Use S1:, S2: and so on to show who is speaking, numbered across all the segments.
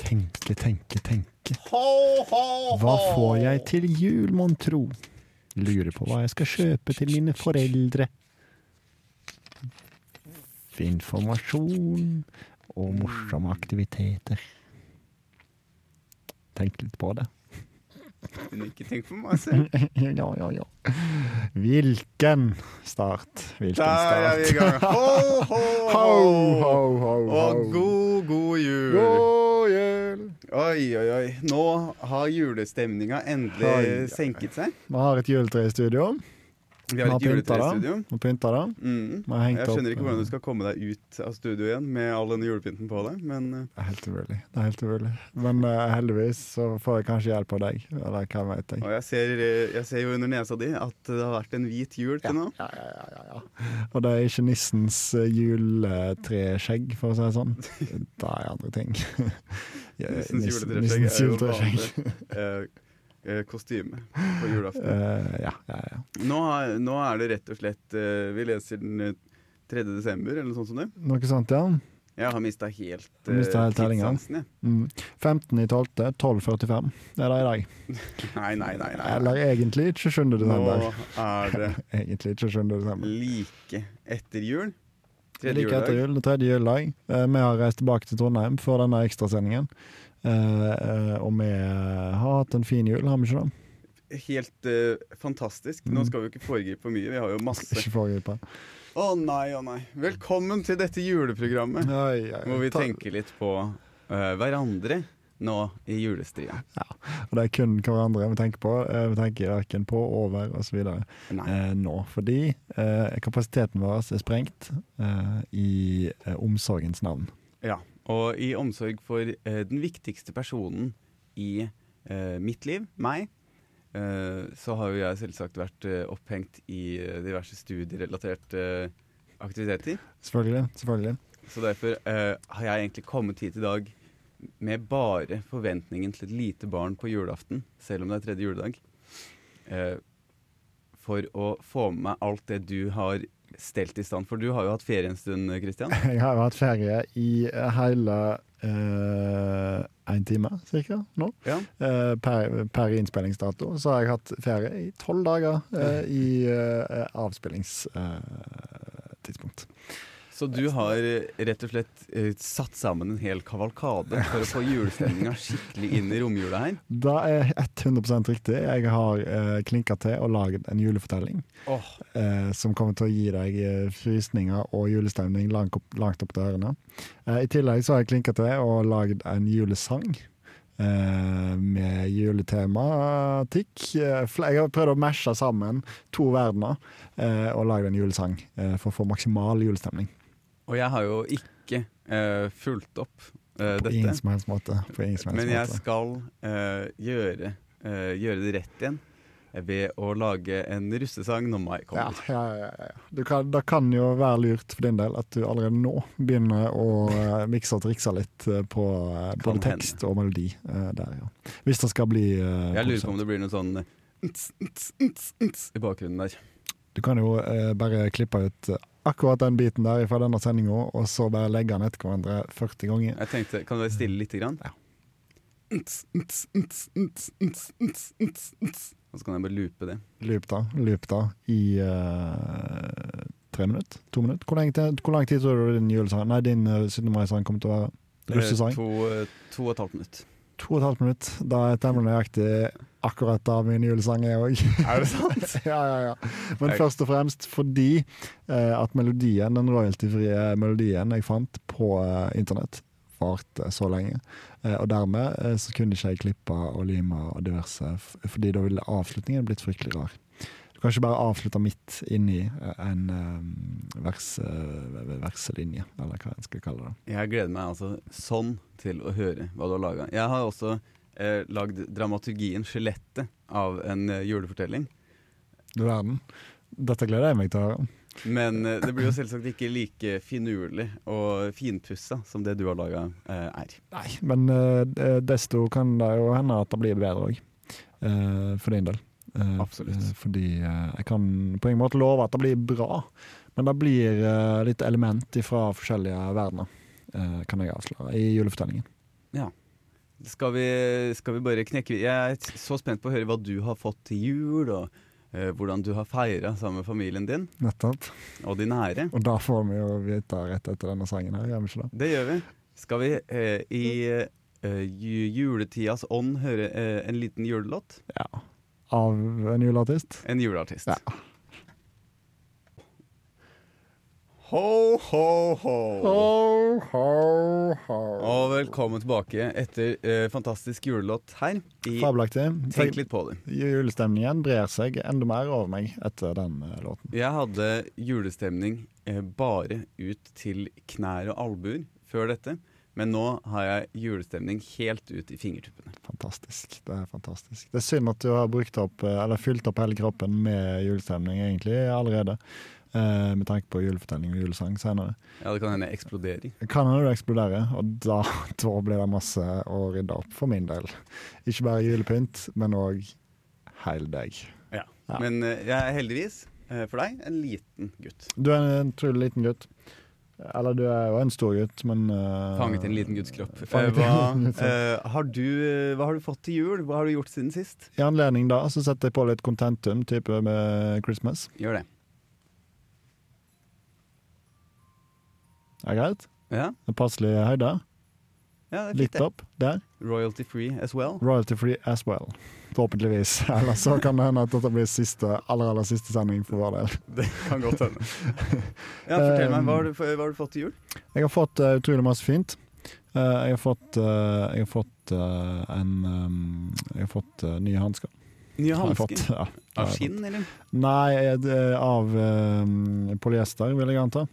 S1: tenke, tenke, tenke.
S2: Ho, ho, ho.
S1: Hva får jeg til jul, mon tro? Lurer på hva jeg skal kjøpe til mine foreldre. Informasjon og morsomme aktiviteter. Tenk litt på det.
S2: Men ikke tenk for masse.
S1: Ja, ja, ja. Hvilken start? Hvilken
S2: Der er vi i
S1: start?
S2: gang. Ho, ho,
S1: Ho, ho,
S2: ho.
S1: ho,
S2: Og
S1: ho.
S2: god, god jul.
S1: God jul!
S2: Oi, oi, oi. Nå har julestemninga endelig
S1: Oi, oi, oi.
S2: senket seg.
S1: Vi har et juletre i studio.
S2: Vi har et
S1: pynta det.
S2: juletrestudio.
S1: Vi har pynta det.
S2: Mm.
S1: Vi har hengt
S2: Jeg skjønner
S1: opp,
S2: ikke hvordan
S1: eh,
S2: du skal komme deg ut av studio igjen med all denne julepynten på deg, men eh,
S1: Det er helt umulig. Det er helt umulig. Men eh, heldigvis så får jeg kanskje hjelp av deg. Eller hva vet jeg.
S2: og jeg, ser, eh, jeg ser jo under nesa di at det har vært en hvit jul til nå.
S1: Ja, ja, ja, ja, ja. Og det er ikke nissens eh, juletreskjegg, for å si det sånn. Det er andre ting. Ja,
S2: Nissens
S1: Eh, nissen-
S2: juletreskjegg
S1: nissens
S2: er jo
S1: juletreskjegg.
S2: vanlig eh, eh, kostyme på julaften.
S1: Eh, ja, ja, ja.
S2: Nå, har- nå er det rett og slett eh, Vi leser den eh, 3. desember, eller noe sånt som det.
S1: Noe sånt, ja.
S2: Jeg har mista helt,
S1: Du mistet helt
S2: eh,
S1: tellinga.
S2: tidssansen, jeg.
S1: Mm. 15.12. 12.45. Det er det i dag.
S2: Nei, nei, nei. nei.
S1: Eller egentlig 27. desember.
S2: Nå er det
S1: Egentlig 27. desember.
S2: like etter jul. Tredje
S1: Like etter
S2: juledag.
S1: jul, det tredje juledag. Eh, Vi har reist tilbake til Trondheim for denne ekstrasendingen. Eh, eh, og vi har hatt en fin jul, har vi ikke det?
S2: Helt eh, fantastisk.
S1: Mm.
S2: Nå skal vi jo ikke foregripe for mye. Vi har jo masse
S1: Ikke foregripe.
S2: Å nei, å nei. Velkommen til dette juleprogrammet.
S1: Oi, oi,
S2: Hvor vi
S1: ta-
S2: tenker litt på eh, hverandre nå i julestria.
S1: Og det er kun hverandre vi tenker på. Eh, Vi tenker verken på, over osv.
S2: Nei.
S1: Eh, nå. Fordi eh, kapasiteten vår er sprengt eh, i eh, omsorgens navn.
S2: Ja. Og i omsorg for eh, den viktigste personen i eh, mitt liv, meg, eh, så har jo jeg selvsagt vært eh, opphengt i eh, diverse studierelaterte eh, aktiviteter.
S1: Selvfølgelig. selvfølgelig.
S2: Så derfor eh, har jeg egentlig kommet hit i dag med bare forventningen til et lite barn på julaften, selv om det er tredje juledag, eh, for å få med meg alt det du har stelt i stand. For du har jo hatt ferie en stund, eh, Kristian.
S1: Jeg har jo hatt ferie i eh, hele eh, en time, cirka, nå.
S2: Ja.
S1: Eh, per, per innspillingsdato så har jeg hatt ferie i tolv dager eh, i eh, avspillingstidspunkt.
S2: Så du har eh, rett og slett eh, satt sammen en hel kavalkade for å få julestemninga skikkelig inn i romjula her.
S1: det er 100 riktig. Jeg har eh, klinka til og lagd en julefortelling.
S2: Åh,
S1: eh, som kommer til å gi deg eh, frysninger og julestemning langt opp, langt opp til ørene. Eh, I tillegg så har jeg klinka til og lagd en julesang. eh, med juletematikk. Eh, fl- Jeg har prøvd å mashe sammen to verdener eh, og lagd en julesang eh, for å få maksimal julestemning.
S2: Og jeg har jo ikke eh, fulgt opp eh,
S1: På
S2: dette.
S1: ingen som helst måte. På ingen som helst
S2: Men jeg
S1: måte.
S2: skal eh, gjøre, eh, gjøre det rett igjen eh, ved å lage en russesang når mai
S1: Ja,
S2: kommer.
S1: ja, ja, ja. Du kan, det kan jo være lurt for din del at du allerede nå begynner å eh, mikse og trikse litt eh, på eh,
S2: Kan
S1: både tekst og melodi. eh, Der, ja. Hvis det skal bli eh,
S2: Jeg lurer på
S1: produsent.
S2: om det blir noe sånn nts, nts, nts, nts i bakgrunnen der.
S1: Du kan jo eh, bare klippe ut eh, akkurat den biten der fra denne sendinga, og så bare legge den etter hverandre 40 ganger.
S2: Jeg tenkte, Kan du være stille lite grann?
S1: Ja.
S2: Nts, nts, nts, nts, nts, nts, nts, nts. Og så kan jeg bare loope det.
S1: Loop da, loop da i eh, tre minutter? To minutter? Hvor, lenge, hvor lang tid tror du din julesang Nei, din eh, 17. mai-sang kommer til å være? Russesang?
S2: Eh, To, eh, to og et halvt minutt.
S1: To og et halvt minutt. Da er jeg temmelig nøyaktig akkurat da min julesang er òg.
S2: Er det sant?
S1: ja, ja, ja. Men
S2: Jeg-
S1: først og fremst fordi eh, at melodien, den royaltyfrie melodien jeg fant på eh, internett, varte så lenge. Eh, og dermed eh, så kunne ikke jeg klippe og lime og diverse, f fordi da ville avslutningen blitt fryktelig rar. Du kan ikke bare avslutte midt inni eh, en eh, vers, eh, verselinje, eller hva en skal kalle det.
S2: Jeg gleder meg altså sånn til å høre hva du har laga. Jeg har også eh, lagd dramaturgien 'Skjelettet' av en eh, julefortelling.
S1: Du verden. Dette gleder jeg meg til å høre.
S2: Men eh, det blir jo selvsagt ikke like finurlig og finpussa som det du har laga, eh, er.
S1: Nei, men eh, desto kan det jo hende at det blir bedre òg. for din del. Eh,
S2: Absolutt.
S1: eh, fordi eh, jeg kan på ingen måte love at det blir bra, men det blir eh, litt element fra forskjellige verdener, eh, kan jeg avsløre, i julefortellingen.
S2: Skal vi, skal vi bare knekke vid- Jeg er t- så spent på å høre hva du har fått til jul, og eh, hvordan du har feira sammen med familien din
S1: Nettopp.
S2: og de nære.
S1: Og da får vi jo vite rett etter denne sangen her, gjør vi ikke det?
S2: Det gjør vi. Skal vi eh, i eh, ju- juletidas ånd høre eh, en liten julelåt?
S1: Ja. Av en juleartist?
S2: En juleartist.
S1: Ja.
S2: Ho, ho, ho.
S1: Ho, ho, ho.
S2: Og velkommen tilbake etter eh, fantastisk julelåt her. I
S1: Fabelaktig.
S2: Tenk litt på det.
S1: Julestemningen brer seg enda mer over meg etter den eh, låten.
S2: Jeg hadde julestemning eh, bare ut til knær og albuer før dette. Men nå har jeg julestemning helt ut i fingertuppene.
S1: Fantastisk. Det er fantastisk. Det er synd at du har brukt opp, eh, eller fylt opp hele kroppen med julestemning egentlig allerede. Eh, med tanke på julefortelling og julesang senere.
S2: Ja, Det kan hende jeg eksploderer.
S1: Kan hende du eksploderer, og da, da blir det masse å rydde opp for min del. Ikke bare julepynt, men òg heil deg. Ja.
S2: Men eh, jeg er heldigvis, eh, for deg, en liten gutt.
S1: Du er en utrolig liten gutt. Eller du er jo en stor gutt, men eh,
S2: Fanget i en liten gutts kropp. Eh,
S1: fanget i
S2: Hva,
S1: en liten gutts kropp.
S2: eh, har du, eh, hva har du fått til jul? Hva har du gjort siden sist?
S1: I anledning da så setter jeg på litt contentum, type med Christmas.
S2: Gjør det.
S1: Er det greit?
S2: Ja,
S1: En passelig høyde.
S2: ja det er fint,
S1: Litt
S2: det.
S1: opp der.
S2: Royalty free as well.
S1: Royalty free as well. Forhåpentligvis. Eller så kan det hende at dette blir siste, aller aller siste sending for vår del.
S2: Det kan godt hende. Ja, fortell meg,
S1: Um,
S2: hva har du, hva har du fått til jul?
S1: Jeg har fått eh, utrolig masse fint. Eh, jeg har fått, eh, jeg har fått eh, en um, Jeg har fått eh, nye hansker.
S2: Nye
S1: Har jeg
S2: hansker?
S1: fått, Ja.
S2: Av skinn, eller?
S1: Nei, jeg, det- av eh, polyester, vil jeg anta.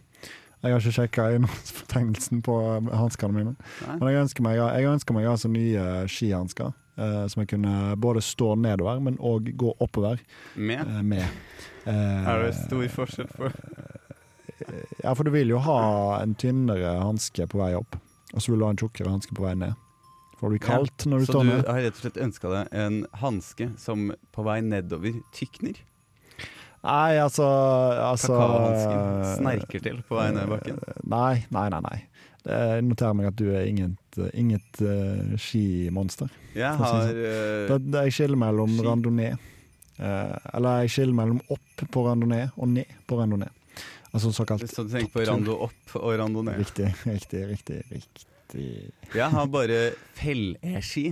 S1: Jeg har ikke sjekka innholdsfortegnelsen på ehm, hanskene mine.
S2: Nei.
S1: Men jeg ønsker meg, jeg ønsker meg altså nye skihansker. eh, som jeg kunne både stå nedover, men òg gå oppover
S2: Med?
S1: eh, med. Eh,
S2: Er det stor forskjell på
S1: Ja, for du vil jo ha en tynnere hanske på vei opp, og så vil du ha en tjukkere hanske på vei ned. For det blir
S2: Ja,
S1: kaldt når du
S2: Så
S1: står
S2: du
S1: ned.
S2: har rett og slett ønska deg en hanske som på vei nedover tykner?
S1: Nei, altså, altså eh,
S2: Kakaohansken snerker til på vei ned bakken?
S1: Nei, nei, nei. nei. Det- Jeg noterer meg at du er inget, inget eh, skimonster.
S2: Jeg
S1: for å si
S2: har eh,
S1: Det, sånn. det, jeg skiller mellom
S2: Ski.
S1: randonee. Eh, eller jeg skiller mellom opp på randonee og ned på randonee. Altså såkalt
S2: Så du tenker på rando opp og rando ned?
S1: Riktig, riktig, riktig. riktig.
S2: Jeg har bare felleski.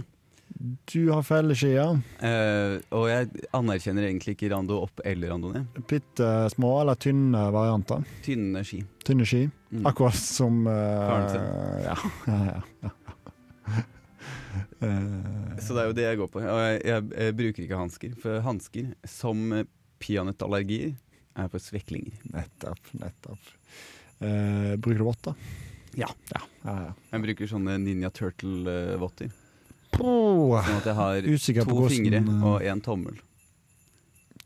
S1: Du har felleskia.
S2: eh, og jeg anerkjenner egentlig ikke rando opp eller rando ned.
S1: Bitte små eller tynne varianter.
S2: Tynne ski.
S1: Tynne ski.
S2: Mm.
S1: Akkurat som eh,
S2: Faren
S1: Ja. ja, ja, ja. Eh,
S2: Så det er jo det jeg går på. Og jeg, jeg, jeg bruker ikke hansker. For hansker, som eh, peanøttallergier, er for sveklinger.
S1: nettopp, nettopp. Eh, bruker du votter?
S2: Ja.
S1: ja, ja, ja.
S2: Jeg bruker sånne Ninja Turtle-votter.
S1: Puh,
S2: Sånn at jeg har
S1: Usikker på
S2: to fingre
S1: hvordan eh,
S2: og én tommel.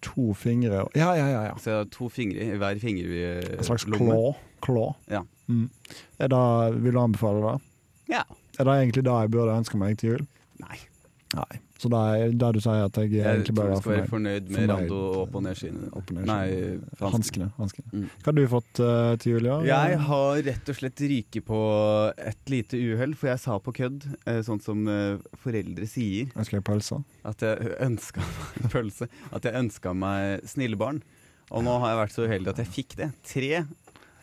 S1: To fingre og Ja, ja, ja. ja.
S2: Så jeg har to fingre i hver
S1: En slags klå.
S2: fingerlomme.
S1: klå.
S2: Eh, Ja.
S1: Mm. Er det, vil du anbefale det?
S2: Ja.
S1: Er det egentlig det jeg burde ønske meg til jul?
S2: Nei.
S1: Nei. Så det er det du sier at jeg
S2: Jeg
S1: egentlig
S2: tror
S1: bør
S2: du
S1: være
S2: skal
S1: fornøyd
S2: være fornøyd med
S1: Fornøyd, eh,
S2: rando opp og ned skiene.
S1: opp og ned
S2: Nei, hansker.
S1: Hanskene. hanskene.
S2: Mm.
S1: Hva har du fått eh, til jul i år?
S2: Jeg har rett og slett ryket på et lite uhell, for jeg sa på kødd, eh, sånn som eh, foreldre sier,
S1: Ønsker jeg pølser?
S2: at jeg ønska meg pølse. At jeg ønska meg snille barn. Og nå har jeg vært så uheldig at jeg fikk det. Tre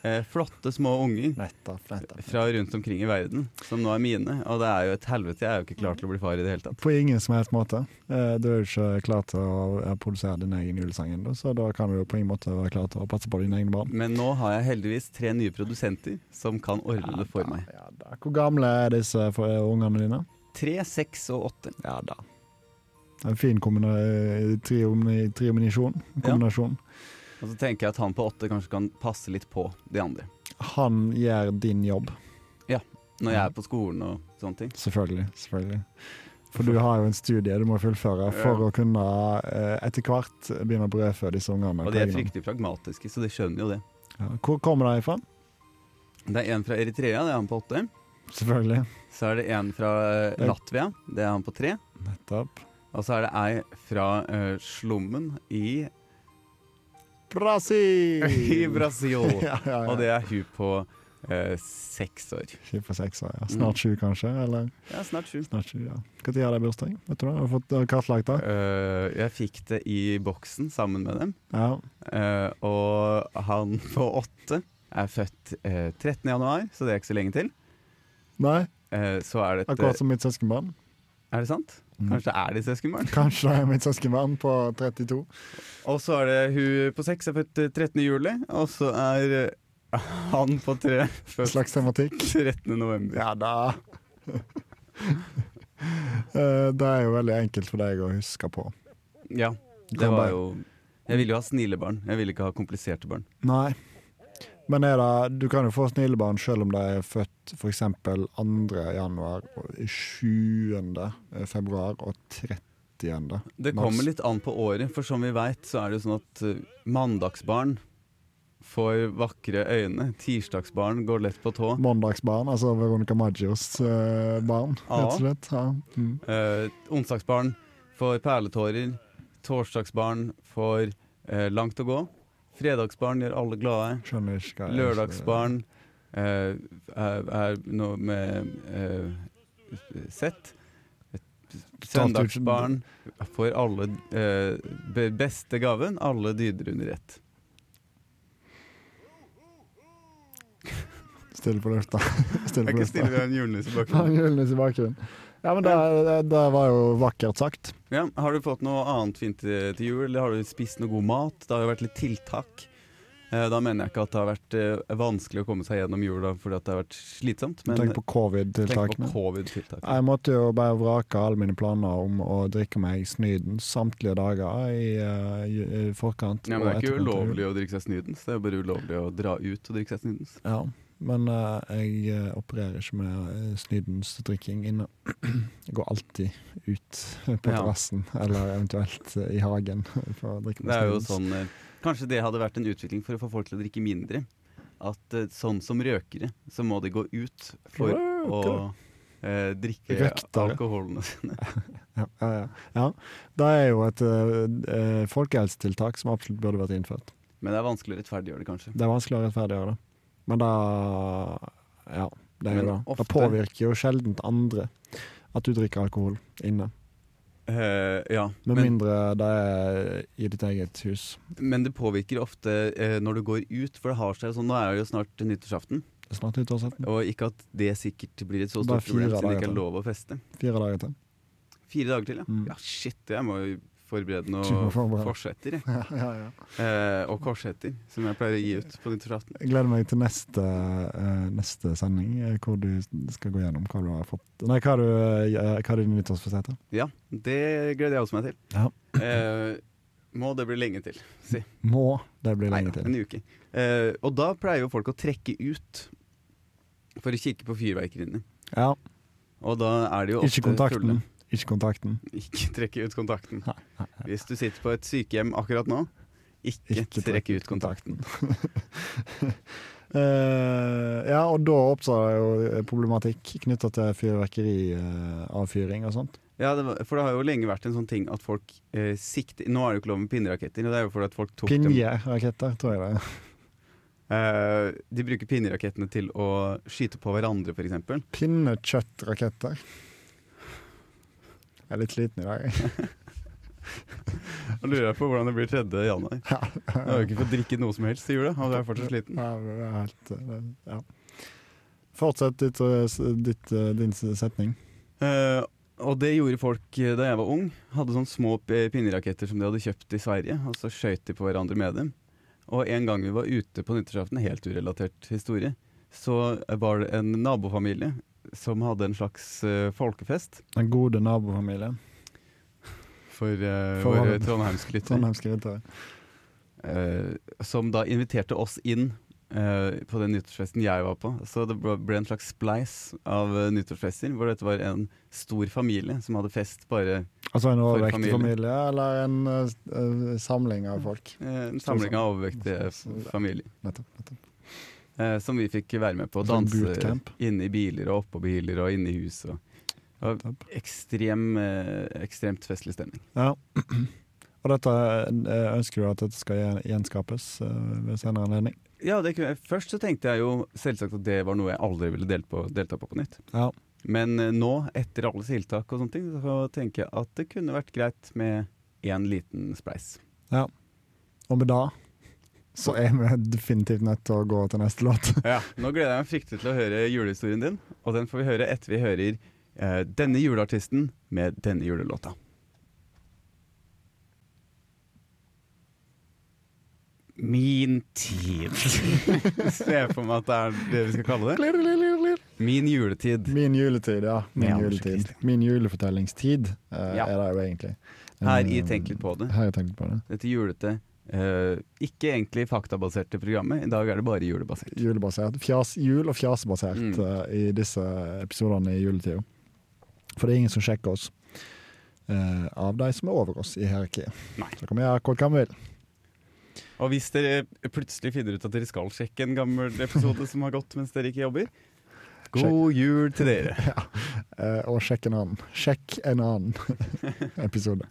S2: eh, flotte små unger
S1: Nettopp, nettopp.
S2: fra rundt omkring i verden, som nå er mine. Og det er jo et helvete. Jeg er jo ikke klar til å bli far i det hele tatt.
S1: På ingen som helst måte. Eh, Du er jo ikke klar til å eh, produsere din egen julesang ennå, så da kan du jo på ingen måte være klar til å passe på dine egne barn.
S2: Men nå har jeg heldigvis tre nye produsenter som kan ordne det for meg.
S1: Ja, da. Hvor gamle er disse for- eh, ungene dine?
S2: Tre, seks og åtte.
S1: Ja da. En fin kombina- eh, triomni- triominasjon. kombinasjon.
S2: Og så tenker jeg at han på åtte kanskje kan passe litt på de andre.
S1: Han gjør din jobb,
S2: Når jeg er på skolen og sånne ting.
S1: selvfølgelig. selvfølgelig. For du har jo en studie du må fullføre for
S2: Ja.
S1: å kunne eh, etter hvert begynne å brødfø disse ungene.
S2: Og
S1: på
S2: de er
S1: egen hånd.
S2: fryktelig pragmatiske, så de skjønner jo det.
S1: Ja. Hvor kommer de fra?
S2: Det er en fra Eritrea, det er han på åtte.
S1: Selvfølgelig.
S2: Så er det en fra eh,
S1: Ja.
S2: Latvia, det er han på tre.
S1: Nettopp.
S2: Og så er det ei fra eh, slummen i,
S1: Brasil!
S2: i Brasil.
S1: ja, ja, ja.
S2: Og det er hun på Eh, seks år.
S1: Skift for seks år, ja.
S2: Mm.
S1: Snart sju, kanskje? Eller
S2: Ja, snart sju.
S1: snart sju, ja. Når har de bursdag? Vet du det? Har du fått har du kartlagt det?
S2: Eh, jeg fikk det i boksen sammen med dem.
S1: Ja.
S2: Eh, og han på åtte er født eh, 13. januar, så det er ikke så lenge til.
S1: Nei?
S2: Eh, så er det Mm. et
S1: Akkurat Mm. som mitt søskenbarn?
S2: Er det sant? Kanskje det er de søskenbarn?
S1: Kanskje det er mitt søskenbarn på 32.
S2: Og så er det hun på seks er født eh, 13. juli, og så er eh, han på tre født
S1: Slags tematikk.
S2: 13. november.
S1: Ja da. Eh, Det er jo veldig enkelt for deg å huske på.
S2: Ja, det
S1: Kan
S2: var
S1: bare-
S2: jo Jeg ville jo ha snille barn. Jeg ville ikke ha kompliserte barn.
S1: Nei. Men er det, du kan jo få snillebarn selv om de er født f.eks. 2. januar, og 7. februar og 30.
S2: Det
S1: Mars.
S2: kommer litt an på året, for som vi veit så er det jo sånn at eh, mandagsbarn får vakre øyne, tirsdagsbarn går lett på tå.
S1: Mandagsbarn, altså Veronica Maggios eh, barn,
S2: Ja.
S1: rett og slett. Ja. Mm.
S2: Eh, onsdagsbarn får perletårer. Torsdagsbarn får eh, langt å gå. Fredagsbarn gjør alle glade.
S1: Skjønner ikke hva jeg-
S2: Lørdagsbarn eh, er, er noe med eh, sett. Søndagsbarn får alle eh, be- beste gaven. Alle dyder under ett.
S1: Stille på lufta. Stille på lufta.
S2: vi har en julenisse bak
S1: Han julenes i bakgrunnen. Ja, men det, det, det var jo vakkert sagt.
S2: Ja, har du fått noe annet fint eh, til, til jul, eller har du spist noe god mat? Det har jo vært litt tiltak. Eh, Da mener jeg ikke at det har vært eh, vanskelig å komme seg gjennom jula fordi at det har vært slitsomt, men
S1: Tenk på
S2: tenk på
S1: covid-tiltakene.
S2: covid-tiltak.
S1: Jeg måtte jo bare vrake alle mine planer om å drikke meg snyden samtlige dager i, eh, ju- i forkant.
S2: Ja, men
S1: og
S2: det er ikke
S1: etterkant av jul.
S2: ulovlig å drikke seg snydens, det er bare ulovlig å dra ut og drikke seg snydens.
S1: Ja, men eh, jeg eh, opererer ikke med eh, snydens drikking inne. Jeg går alltid ut på
S2: Ja.
S1: terrassen, eller eventuelt eh, i hagen, for å drikke
S2: Det
S1: meg
S2: er jo
S1: snydens.
S2: sånn eh, Kanskje det hadde vært en utvikling for å få folk til å drikke mindre. At eh, sånn som røkere, så må de gå ut for å eh, drikke
S1: Røktere.
S2: alkoholen.
S1: Ja, ja, ja. ja. Det er jo et eh, eh, folkehelsetiltak som absolutt burde vært innført.
S2: Men det er vanskelig å rettferdiggjøre det, kanskje.
S1: Det er vanskelig å rettferdiggjøre det. Men da Ja, det er jo
S2: Men
S1: det. Det
S2: ofte-
S1: påvirker jo sjelden andre at du drikker alkohol inne.
S2: Eh, ja,
S1: Med
S2: men,
S1: mindre det er i ditt eget hus.
S2: men det påvirker ofte eh, når du går ut, for det har seg sånn. Nå er det jo snart nyttårsaften,
S1: Det er snart nyttårsaften.
S2: og ikke at det sikkert blir et så
S1: Bare
S2: stort problem
S1: fire
S2: siden det
S1: dager
S2: ikke er
S1: til.
S2: lov å feste.
S1: Fire dager til.
S2: Fire dager til, ja.
S1: Mm.
S2: Ja, shit, jeg må jo forberede
S1: Du må
S2: noe
S1: forberede.
S2: forsetter, jeg.
S1: Ja, ja, ja.
S2: Eh, og korsetter, som jeg pleier å gi ut på nyttårsaften.
S1: Jeg gleder meg til neste, eh, neste sending, eh, hvor du skal gå gjennom hva du har fått Nei, hva du, uh, hva din nyttårsforsett er.
S2: Ja, det gleder jeg også meg til.
S1: Ja.
S2: Eh, må det bli lenge til.
S1: Må det bli
S2: Nei,
S1: lenge til.
S2: en uke. Eh, og da pleier jo folk å trekke ut for å kikke på fyrverkeriene.
S1: Ja.
S2: Og da er det jo ofte
S1: Ikke kontakten.
S2: fulle.
S1: Ikke kontakten.
S2: Ikke trekke ut kontakten.
S1: Nei, nei,
S2: Hvis du sitter på et sykehjem akkurat nå, ikke,
S1: Ikke trekk
S2: trekke ut kontakten.
S1: Eh, ja, og da oppstår det jo eh, problematikk knytta til fyrverkeriavfyring og sånt.
S2: Ja, det var, For det har jo lenge vært en sånn ting at folk eh, sikter Nå er det jo ikke lov med pinneraketter. og Det er jo fordi at folk tok dem
S1: Pinjeraketter, tror jeg det er.
S2: eh, De bruker pinnerakettene til å skyte på hverandre, f.eks.
S1: Pinnekjøttraketter. Jeg er litt sliten i dag, jeg.
S2: Da lurer jeg på hvordan det blir 3. januar.
S1: Ja.
S2: Jeg har jo ikke fått drikke noe som helst i jula, og jeg er fortsatt sliten.
S1: Ja, men det er helt, eh, ja. Fortsett ditt, eh, s- ditt, eh, din s- setning.
S2: Eh, og det gjorde folk eh, da jeg var ung. Hadde sånne små p- pinneraketter som de hadde kjøpt i Sverige, og så skøyt de på hverandre med dem. Og en gang vi var ute på nyttårsaften, helt urelatert historie, så var det en nabofamilie som hadde en slags eh, folkefest
S1: Den gode nabofamilien.
S2: for, eh,
S1: For
S2: våre
S1: våre-
S2: trondheimske lyttere.
S1: Trondheimske ryttere.
S2: eh, som da inviterte oss inn eh, på den nyttårsfesten jeg var på. Så det ble ble en slags spleis av eh, nyttårsfester, hvor dette var en stor familie som hadde fest bare
S1: Altså en
S2: For
S1: overvektig
S2: familien.
S1: familie, eller en eh, s- eh, samling av folk.
S2: Eh, En samling av overvektige f- familier.
S1: Nettopp. nettopp.
S2: Eh, som vi fikk være med på.
S1: En
S2: Å
S1: sånn
S2: danse
S1: bootcamp.
S2: inne i biler og oppå biler og inne i hus. Og
S1: nettopp.
S2: ekstrem, eh, ekstremt festlig stemning.
S1: Ja. Og dette eh, ønsker du at dette skal gjen- gjenskapes eh, ved senere anledning?
S2: Ja, det kunne jeg. Først så tenkte jeg jo selvsagt at det var noe jeg aldri ville delt på, delta på på nytt.
S1: Ja.
S2: Men eh, nå, etter alle tiltak og sånne ting, så tenker jeg at det kunne vært greit med én liten spleis.
S1: Og med det så er vi definitivt nødt til å gå til neste låt.
S2: Nå gleder jeg meg fryktelig til å høre julehistorien din, og den får vi høre etter vi hører eh, denne juleartisten med denne julelåta. Min tid. Ser jeg for meg at det er det vi skal kalle det.
S1: Klir, klir, klir, klir.
S2: Min juletid.
S1: Min juletid, ja. Min,
S2: Med Anders
S1: juletid.
S2: Christian.
S1: Min julefortellingstid eh,
S2: Ja.
S1: er det jo egentlig.
S2: Her i
S1: Eh,
S2: Tenk litt på det.
S1: Her i Tenk litt på det.
S2: Dette julete, eh, ikke egentlig faktabaserte programmet. I dag er det bare julebasert.
S1: Julebasert. Fjas, jul- og fjasebasert
S2: Mm.
S1: eh, i disse episodene i juletida. For det er ingen som sjekker oss eh, av de som er over oss i hierarkiet.
S2: Nei.
S1: Så kan vi gjøre akkurat hva vi vil.
S2: Og hvis dere plutselig finner ut at dere skal sjekke en gammel episode som har gått mens dere ikke jobber, god jul til dere.
S1: Eh, og sjekk en annen. Sjekk en annen episode.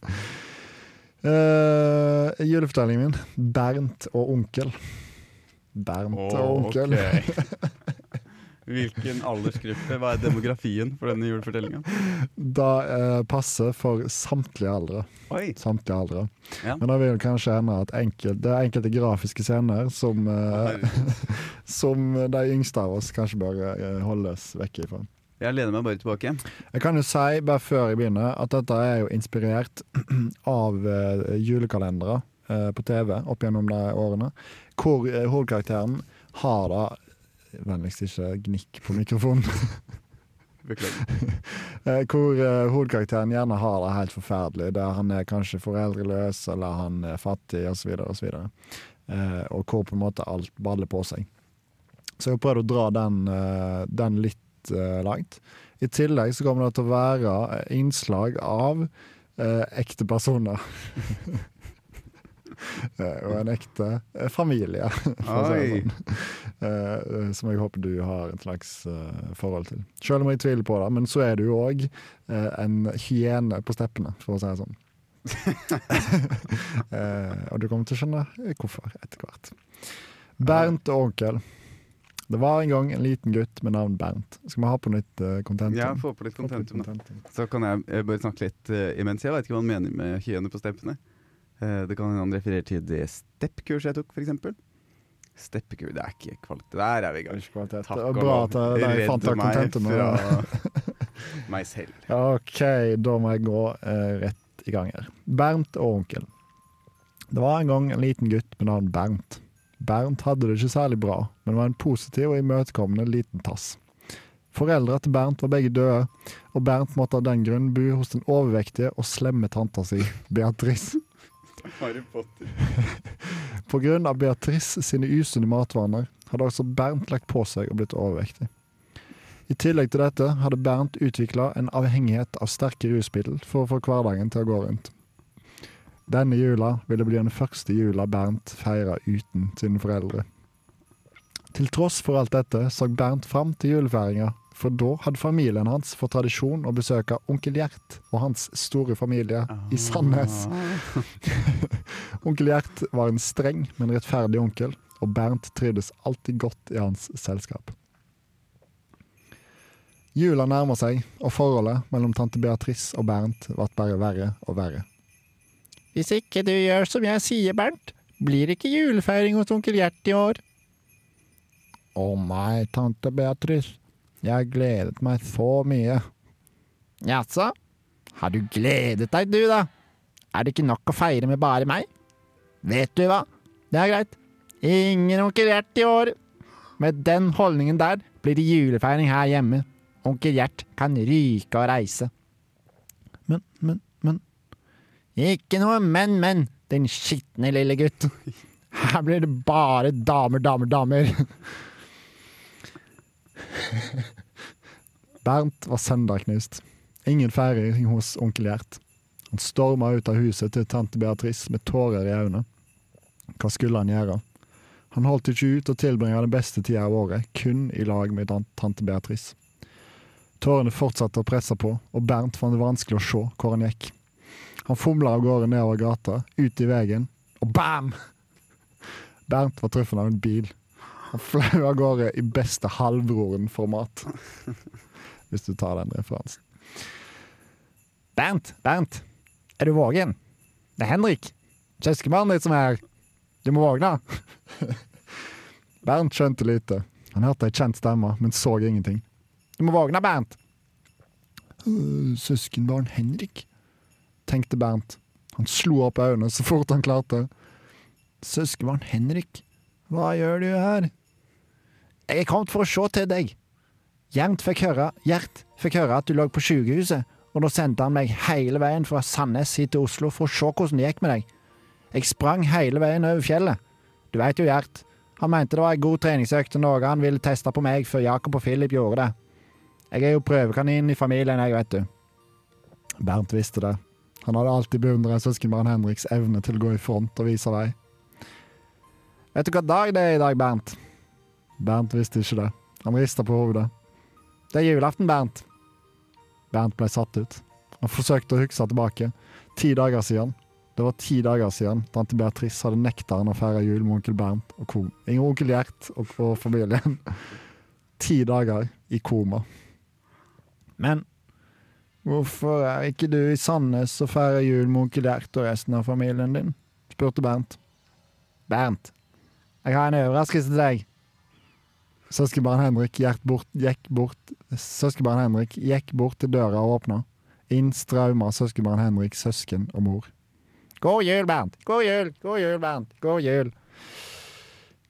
S1: Eh, julefortellingen min. Bernt og onkel. Bernt og
S2: Å,
S1: onkel.
S2: ok. Hvilken aldersgruppe? Hva er demografien for denne julefortellingen?
S1: Da eh, passer for samtlige aldre.
S2: Oi,
S1: samtlige aldre.
S2: Ja.
S1: Men det vil kanskje hende at enkelt, det er enkelte grafiske scener som, eh, som de yngste av oss kanskje bør eh, holdes vekk ifra.
S2: jeg lener meg bare tilbake.
S1: Jeg kan jo si, bare før jeg begynner, at dette er jo inspirert av eh, julekalendere eh, på TV opp gjennom de årene, hvor eh, hovedkarakteren har da Vennligst ikke gnikk på mikrofonen.
S2: Beklager.
S1: Eh, hvor eh, hovedkarakteren gjerne har det helt forferdelig. Der han er kanskje foreldreløs, eller han er fattig, osv. Og, så videre. eh, og hvor på en måte alt baller på seg. Så jeg har prøvd å dra den, eh, den litt eh, langt. I tillegg så kommer det til å være eh, innslag av eh, ekte personer. Eh, og en ekte eh, familie, for å si det
S2: Oi.
S1: sånn. Eh, som jeg håper du har et slags eh, forhold til. Selv om jeg tviler på det, men så er du jo òg en hyene på steppene, for å si det sånn. Eh, og du kommer til å skjønne hvorfor etter hvert. Bernt og onkel. Det var en gang en liten gutt med navn Bernt. Skal vi ha på nytt eh, kontentum?
S2: Ja, få på litt
S1: Få på nytt
S2: kontentum, da.
S1: kontentum.
S2: Så kan jeg eh, bare snakke litt eh, imens. Jeg vet ikke hva han mener med hyene på steppene. Eh, det kan hende han refererer til det steppkurset jeg tok, f.eks. Steppekurs, det er ikke kvalitet. Der er vi i gang.
S1: Ikke kvalitet.
S2: Takk
S1: Det
S2: og
S1: var bra
S2: lov.
S1: at jeg, jeg fant eh.
S2: Redde
S1: det kontentumet.
S2: meg fra meg selv.
S1: Ok, da må jeg gå eh, rett i gang her. Bernt og onkel. Det var en gang en liten gutt med navn Bernt. Bernt hadde det ikke særlig bra, men var en positiv og imøtekommende liten tass. Foreldra til Bernt var begge døde, og Bernt måtte av den grunn bo hos den overvektige og slemme tanta si, Beatrice.
S2: Harry Potter.
S1: På grunn av Beatrice sine usunne matvaner hadde også Bernt lagt på seg og blitt overvektig. I tillegg til dette hadde Bernt utvikla en avhengighet av sterke rusmiddel for å få hverdagen til å gå rundt. Denne jula ville bli den første jula Bernt feira uten sine foreldre. Til tross for alt dette så Bernt fram til julefeiringa, for da hadde familien hans for tradisjon å besøke onkel Gjert og hans store familie
S2: Ah.
S1: i Sandnes. Onkel Gjert var en streng, men rettferdig onkel, og Bernt trivdes alltid godt i hans selskap. Jula nærmer seg, og forholdet mellom tante Beatrice og Bernt ble bare verre og verre. Hvis ikke du gjør som jeg sier, Bernt, blir det ikke julefeiring hos onkel Gjert i år. Å nei, tante Beatrice, jeg har gledet meg så mye. Jaså? Har du gledet deg, du, da? Er det ikke nok å feire med bare meg? Vet du hva? Det er greit. Ingen onkel Gjert i år. Med den holdningen der blir det julefeiring her hjemme. Onkel Gjert kan ryke og reise. Men, men, men Ikke noe men, men, din skitne lille gutt. Her blir det bare damer, damer, damer. Bernt var søndagknust. Ingen feiring hos onkel Gjert. Han storma ut av huset til tante Beatrice med tårer i øynene. Hva skulle han gjøre? Han holdt ikke ut og tilbringe den beste tida av året kun i lag med tan- tante Beatrice. Tårene fortsatte å presse på, og Bernt fant det vanskelig å se hvor han gikk. Han fomla av gårde nedover gata, ut i veien, og bam! Bernt var truffet av en bil. Han flau av gårde i beste halvbroren-format. Hvis du tar den referansen. Bernt, Bernt. Er du våken? Det er Henrik, søskenbarnet ditt, som er her. Du må våkne. Bernt skjønte lite. Han hørte ei kjent stemme, men så ingenting. Du må våkne, Bernt. Øh, Søskenbarn Henrik, tenkte Bernt. Han slo opp øynene så fort han klarte. Søskenbarn Henrik, hva gjør du her? Jeg er kommet for å se til deg. Gjert fikk høre, Gjert fikk høre at du lå på sykehuset, og da sendte han meg hele veien fra Sandnes hit til Oslo for å se hvordan det gikk med deg. Jeg sprang hele veien over fjellet. Du veit jo Gjert. Han mente det var ei god treningsøkt og noe han ville teste på meg før Jakob og Philip gjorde det. Jeg er jo prøvekaninen i familien, jeg, vet du. Bernt visste det. Han hadde alltid beundra søskenbarn Henriks evne til å gå i front og vise vei. Vet du hva dag det er i dag, Bernt? Bernt visste ikke det. Han rista på hodet. Det er julaften, Bernt. Bernt ble satt ut. Han forsøkte å huske tilbake. Ti dager siden. Det var ti dager siden tante Beatrice hadde nekta han å feire jul med onkel Bernt og kom. Ingen onkel Gjert og, og familien. Ti dager i koma. Men hvorfor er ikke du i Sandnes og feirer jul med onkel Gjert og resten av familien din? spurte Bernt. Bernt, jeg har en overraskelse til deg. Søskenbarn Henrik gikk bort, gikk bort Søskenbarn Henrik gikk bort til døra og åpna. Inn strauma søskenbarn Henrik, søsken og mor. God jul, Bernt! God jul! God jul, Bernt! God jul!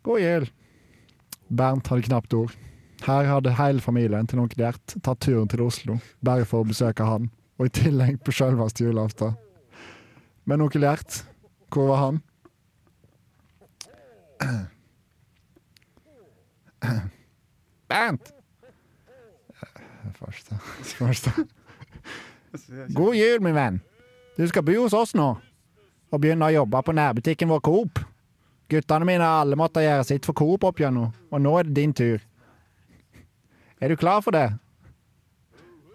S1: God jul! Bernt hadde knapt ord. Her hadde hele familien til onkel Gjert tatt turen til Oslo bare for å besøke han, og i tillegg på selveste julaften. Men onkel Gjert, hvor var han? Bernt! Jeg får ikke til. Jeg får ikke til. God jul, min venn. Du skal bo hos oss nå og begynne å jobbe på nærbutikken vår Coop. Guttene mine har alle måttet gjøre sitt for Coop opp gjennom, og nå er det din tur. Er du klar for det?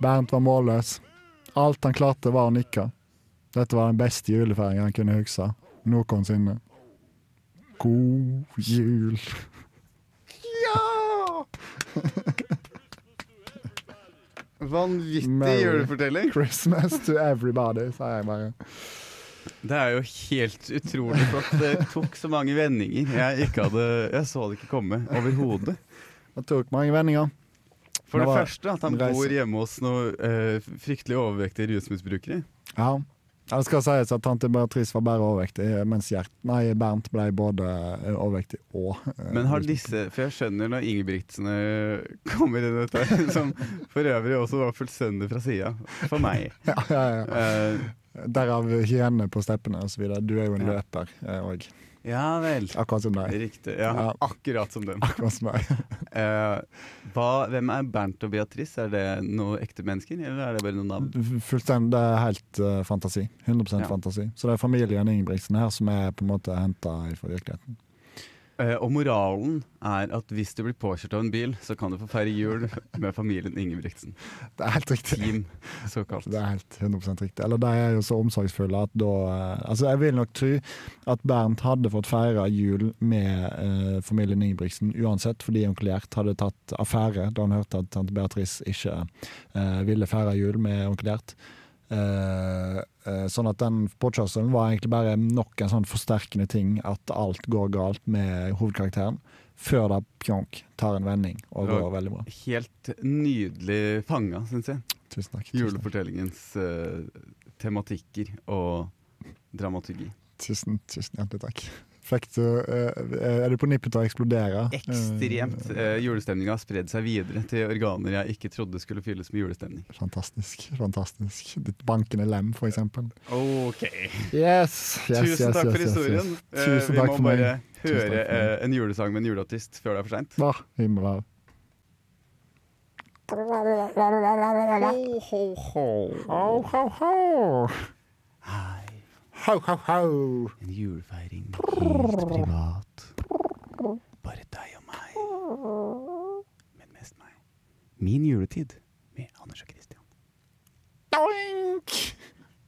S1: Bernt var målløs. Alt han klarte, var å nikke. Dette var den beste julefeiringen han kunne huske noensinne. God jul. Ja!
S2: Vanvittig
S1: Merry.
S2: julefortelling.
S1: Christmas to everybody, sier jeg bare.
S2: Det er jo helt utrolig flott. Det tok så mange vendinger. Jeg, ikke hadde, jeg så det ikke komme overhodet.
S1: Han tok mange vendinger.
S2: For
S1: Det
S2: det
S1: var
S2: første at han
S1: en reise.
S2: bor hjemme hos noen eh, fryktelig overvektige rusmisbrukere.
S1: Ja. Ja, Det skal sies at tante Beatrice var bare overvektig, mens Gjert Nei, Bernt ble både eh, overvektig og eh,
S2: Men har disse For jeg skjønner når Ingebrigtsene kommer inn i dette, her, som for øvrig også var fullstendig fra sida. For meg.
S1: ja, ja, ja.
S2: Eh,
S1: Derav hyenene på steppene osv. Du er jo en
S2: Ja.
S1: løper òg,
S2: ja vel.
S1: akkurat som deg.
S2: Riktig. Ja,
S1: Ja.
S2: akkurat som dem.
S1: Akkurat som meg.
S2: Eh, hva, hvem er Bernt og Beatrice? Er det noen ekte mennesker, eller er det bare noen navn?
S1: Fullstendig det er helt eh, fantasi. 100
S2: Ja.
S1: fantasi. Så det er familien Ingebrigtsen her som er på en måte henta fra virkeligheten.
S2: Eh, og moralen er at hvis du blir påkjørt av en bil, så kan du få feire jul med familien Ingebrigtsen.
S1: Det er helt riktig.
S2: Team, såkalt.
S1: Det er helt 100 riktig. Eller de er jo så omsorgsfulle at da eh, Altså, jeg vil nok tro at Bernt hadde fått feire jul med eh, familien Ingebrigtsen uansett, fordi onkel Gjert hadde tatt affære da han hørte at tante Beatrice ikke eh, ville feire jul med onkel Gjert. Eh, eh, sånn at den påkjørselen var egentlig bare nok en sånn forsterkende ting at alt går galt med hovedkarakteren, før da pjonk tar en vending og
S2: Ja.
S1: går veldig bra.
S2: Helt nydelig fanga, syns jeg.
S1: Tusen takk. Tusen takk.
S2: Julefortellingens eh, tematikker og dramaturgi.
S1: Tusen, tusen hjertelig takk. Fikk du eh, Er du på nippet til å eksplodere?
S2: Ekstremt.
S1: Eh,
S2: Uh, Julestemninga har spredd seg videre til organer jeg ikke trodde skulle fylles med julestemning.
S1: Eh, fantastisk. fantastisk. Ditt bankende lem, for eksempel.
S2: Ok.
S1: Yes!
S2: Tusen takk for historien. Eh,
S1: Tusen takk
S2: Vi
S1: for
S2: må
S1: meg.
S2: bare
S1: Tusen
S2: høre
S1: takk for meg.
S2: eh, en julesang med en juleartist før det er for seint.
S1: Hva? Himmelhav.
S2: Ho, ho, ho.
S1: Ho, ho, ho!
S2: Hei.
S1: Ho, ho, ho!
S2: En julefeiring helt privat. Bare deg og meg. Men mest meg. Min juletid med Anders og Christian.
S1: Doink!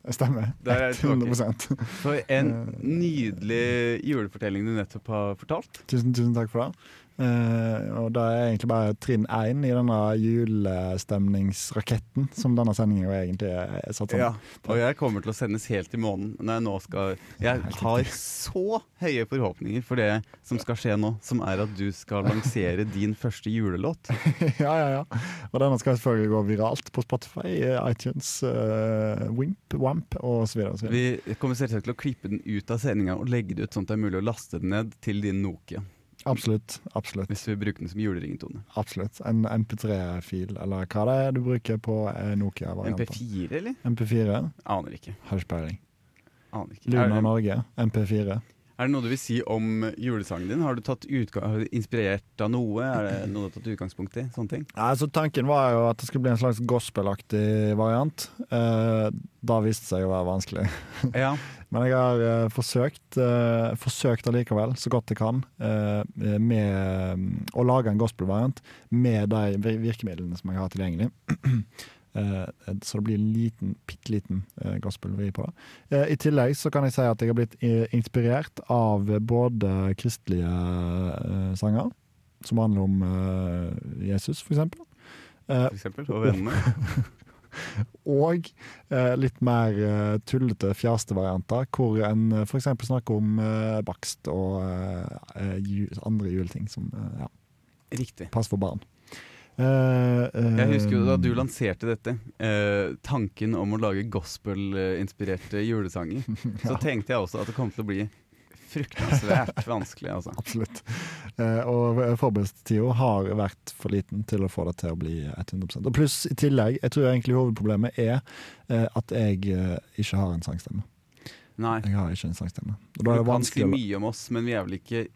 S1: Det stemmer.
S2: Der er jeg tilbake.
S1: 100
S2: For en nydelig julefortelling du nettopp har fortalt.
S1: Tusen, tusen takk for det. Eh, og det er egentlig bare trinn én i denne julestemningsraketten som denne sendingen jo egentlig er satt sammen.
S2: Ja, og jeg kommer til å sendes helt i månen når jeg nå skal Jeg har så høye forhåpninger for det som skal skje nå, som er at du skal lansere din første julelåt.
S1: ja, ja, ja. Og denne skal selvfølgelig gå viralt på Spotify, eh, iTunes, eh, Wimp, Wamp og så videre. Og så videre.
S2: Vi kommer selvsagt til å klippe den ut av sendinga og legge det ut sånn at det er mulig å laste den ned til din Nokia.
S1: Absolutt. absolutt,
S2: Hvis du vil bruke den som juleringetone.
S1: absolutt. En MP3-fil, eller hva det er du bruker på eh, Nokia-varianten.
S2: MP4, eller?
S1: MP4.
S2: Aner ikke.
S1: Har ikke peiling.
S2: Aner ikke. Er,
S1: Luna
S2: det-
S1: Norge, MP4.
S2: er det noe du vil si om julesangen din? Har du tatt utga har du inspirert av noe? Er det noe du har tatt utgangspunkt i? Sånne ting?
S1: Nei, altså Tanken var jo at det skulle bli en slags gospelaktig variant. Eh, da viste det seg å være vanskelig.
S2: Ja.
S1: Men jeg har eh, forsøkt, eh, forsøkt allikevel, så godt jeg kan, eh, med eh, å lage en gospelvariant med de vir- virkemidlene som jeg har tilgjengelig. Eh, så det blir en liten, bitte liten eh, gospelvri på det. Eh, I tillegg så kan jeg si at jeg har blitt eh, inspirert av både kristelige eh, sanger, som handler om eh, Jesus, for eksempel. Eh,
S2: For eksempel. Og vennene.
S1: og eh, litt mer eh, tullete, fjaste varianter, hvor en eh, f.eks. snakker om eh, bakst og eh, ju, andre juleting som eh, ja,
S2: Riktig.
S1: passer for barn. Eh, eh,
S2: Jeg husker jo da du lanserte dette, eh, tanken om å lage gospel-inspirerte julesanger, så tenkte jeg også at det kom til å bli fruktansvært vanskelig, altså.
S1: Absolutt. Eh, og forberedelsestida har vært for liten til å få det til å bli 100 Og Pluss i tillegg, jeg tror egentlig hovedproblemet er eh, at jeg eh, ikke har en sangstemme.
S2: Nei.
S1: Jeg har ikke en sangstemme. Og
S2: Du
S1: da er det
S2: kan si
S1: vanskelig å
S2: mye om oss, men vi er vel ikke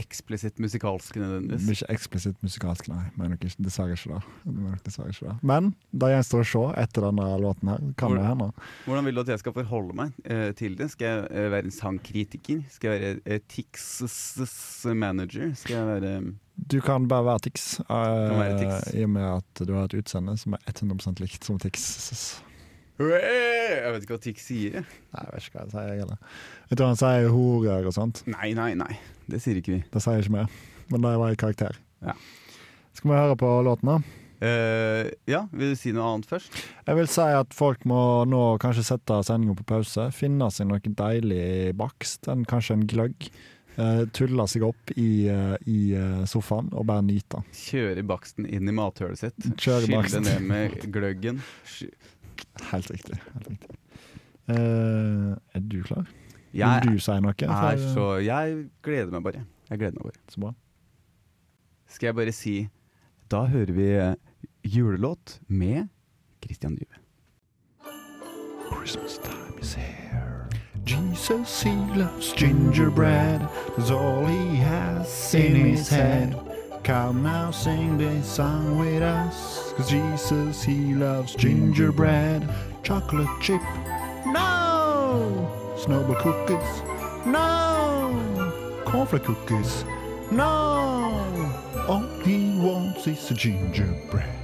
S2: eksplisitt musikalske nødvendigvis.
S1: Ikke eksplisitt musikalsk, nei. Men nok ikke, dessverre ikke det. Men, nok dessverre ikke det. men det gjenstår å se etter denne låten her. Kan det hende?
S2: Hvordan vil du at jeg skal forholde meg eh, til det? Skal jeg eh, være en sangkritiker? Skal jeg være eh, Tix' manager? Skal jeg være
S1: Du kan bare være Tix, eh,
S2: være Tix.
S1: i og med at du har et utseende som er 100 likt som Tix.
S2: Jeg vet ikke hva Tix sier. jeg.
S1: Nei, jeg vet ikke hva jeg sier, jeg heller. Jeg tror han sier horer og sånt.
S2: Nei, nei, nei. Det sier ikke vi.
S1: Det sier jeg ikke mer. Men det var i karakter.
S2: Ja.
S1: Skal vi høre på låten, da?
S2: Eh, ja, vil du si noe annet først?
S1: Jeg vil si at folk må nå kanskje sette sendinga på pause. Finne seg noe deilig bakst, en, kanskje en gløgg. Eh, tulle seg opp i, eh, i eh, sofaen og bare nyte. den.
S2: Kjøre baksten inn i mathølet sitt.
S1: Kjøre
S2: Skylle
S1: baksten.
S2: ned med gløggen. Sky-
S1: Helt riktig. Helt riktig. Eh, er du klar?
S2: Jeg
S1: vil du eh, si noe?
S2: er
S1: For- eh,
S2: så Jeg gleder meg bare. Jeg gleder meg bare.
S1: så bra.
S2: Skal jeg bare si Da hører vi eh, julelåt med Christian Dyve.
S1: Christmas time is here. Jesus, he loves gingerbread. That's all he has in his head. Come now, sing this song with us. Cause Jesus, he loves gingerbread. Chocolate chip, no! Snowball cookies, no! Cornflake cookies, no! All he wants is a gingerbread.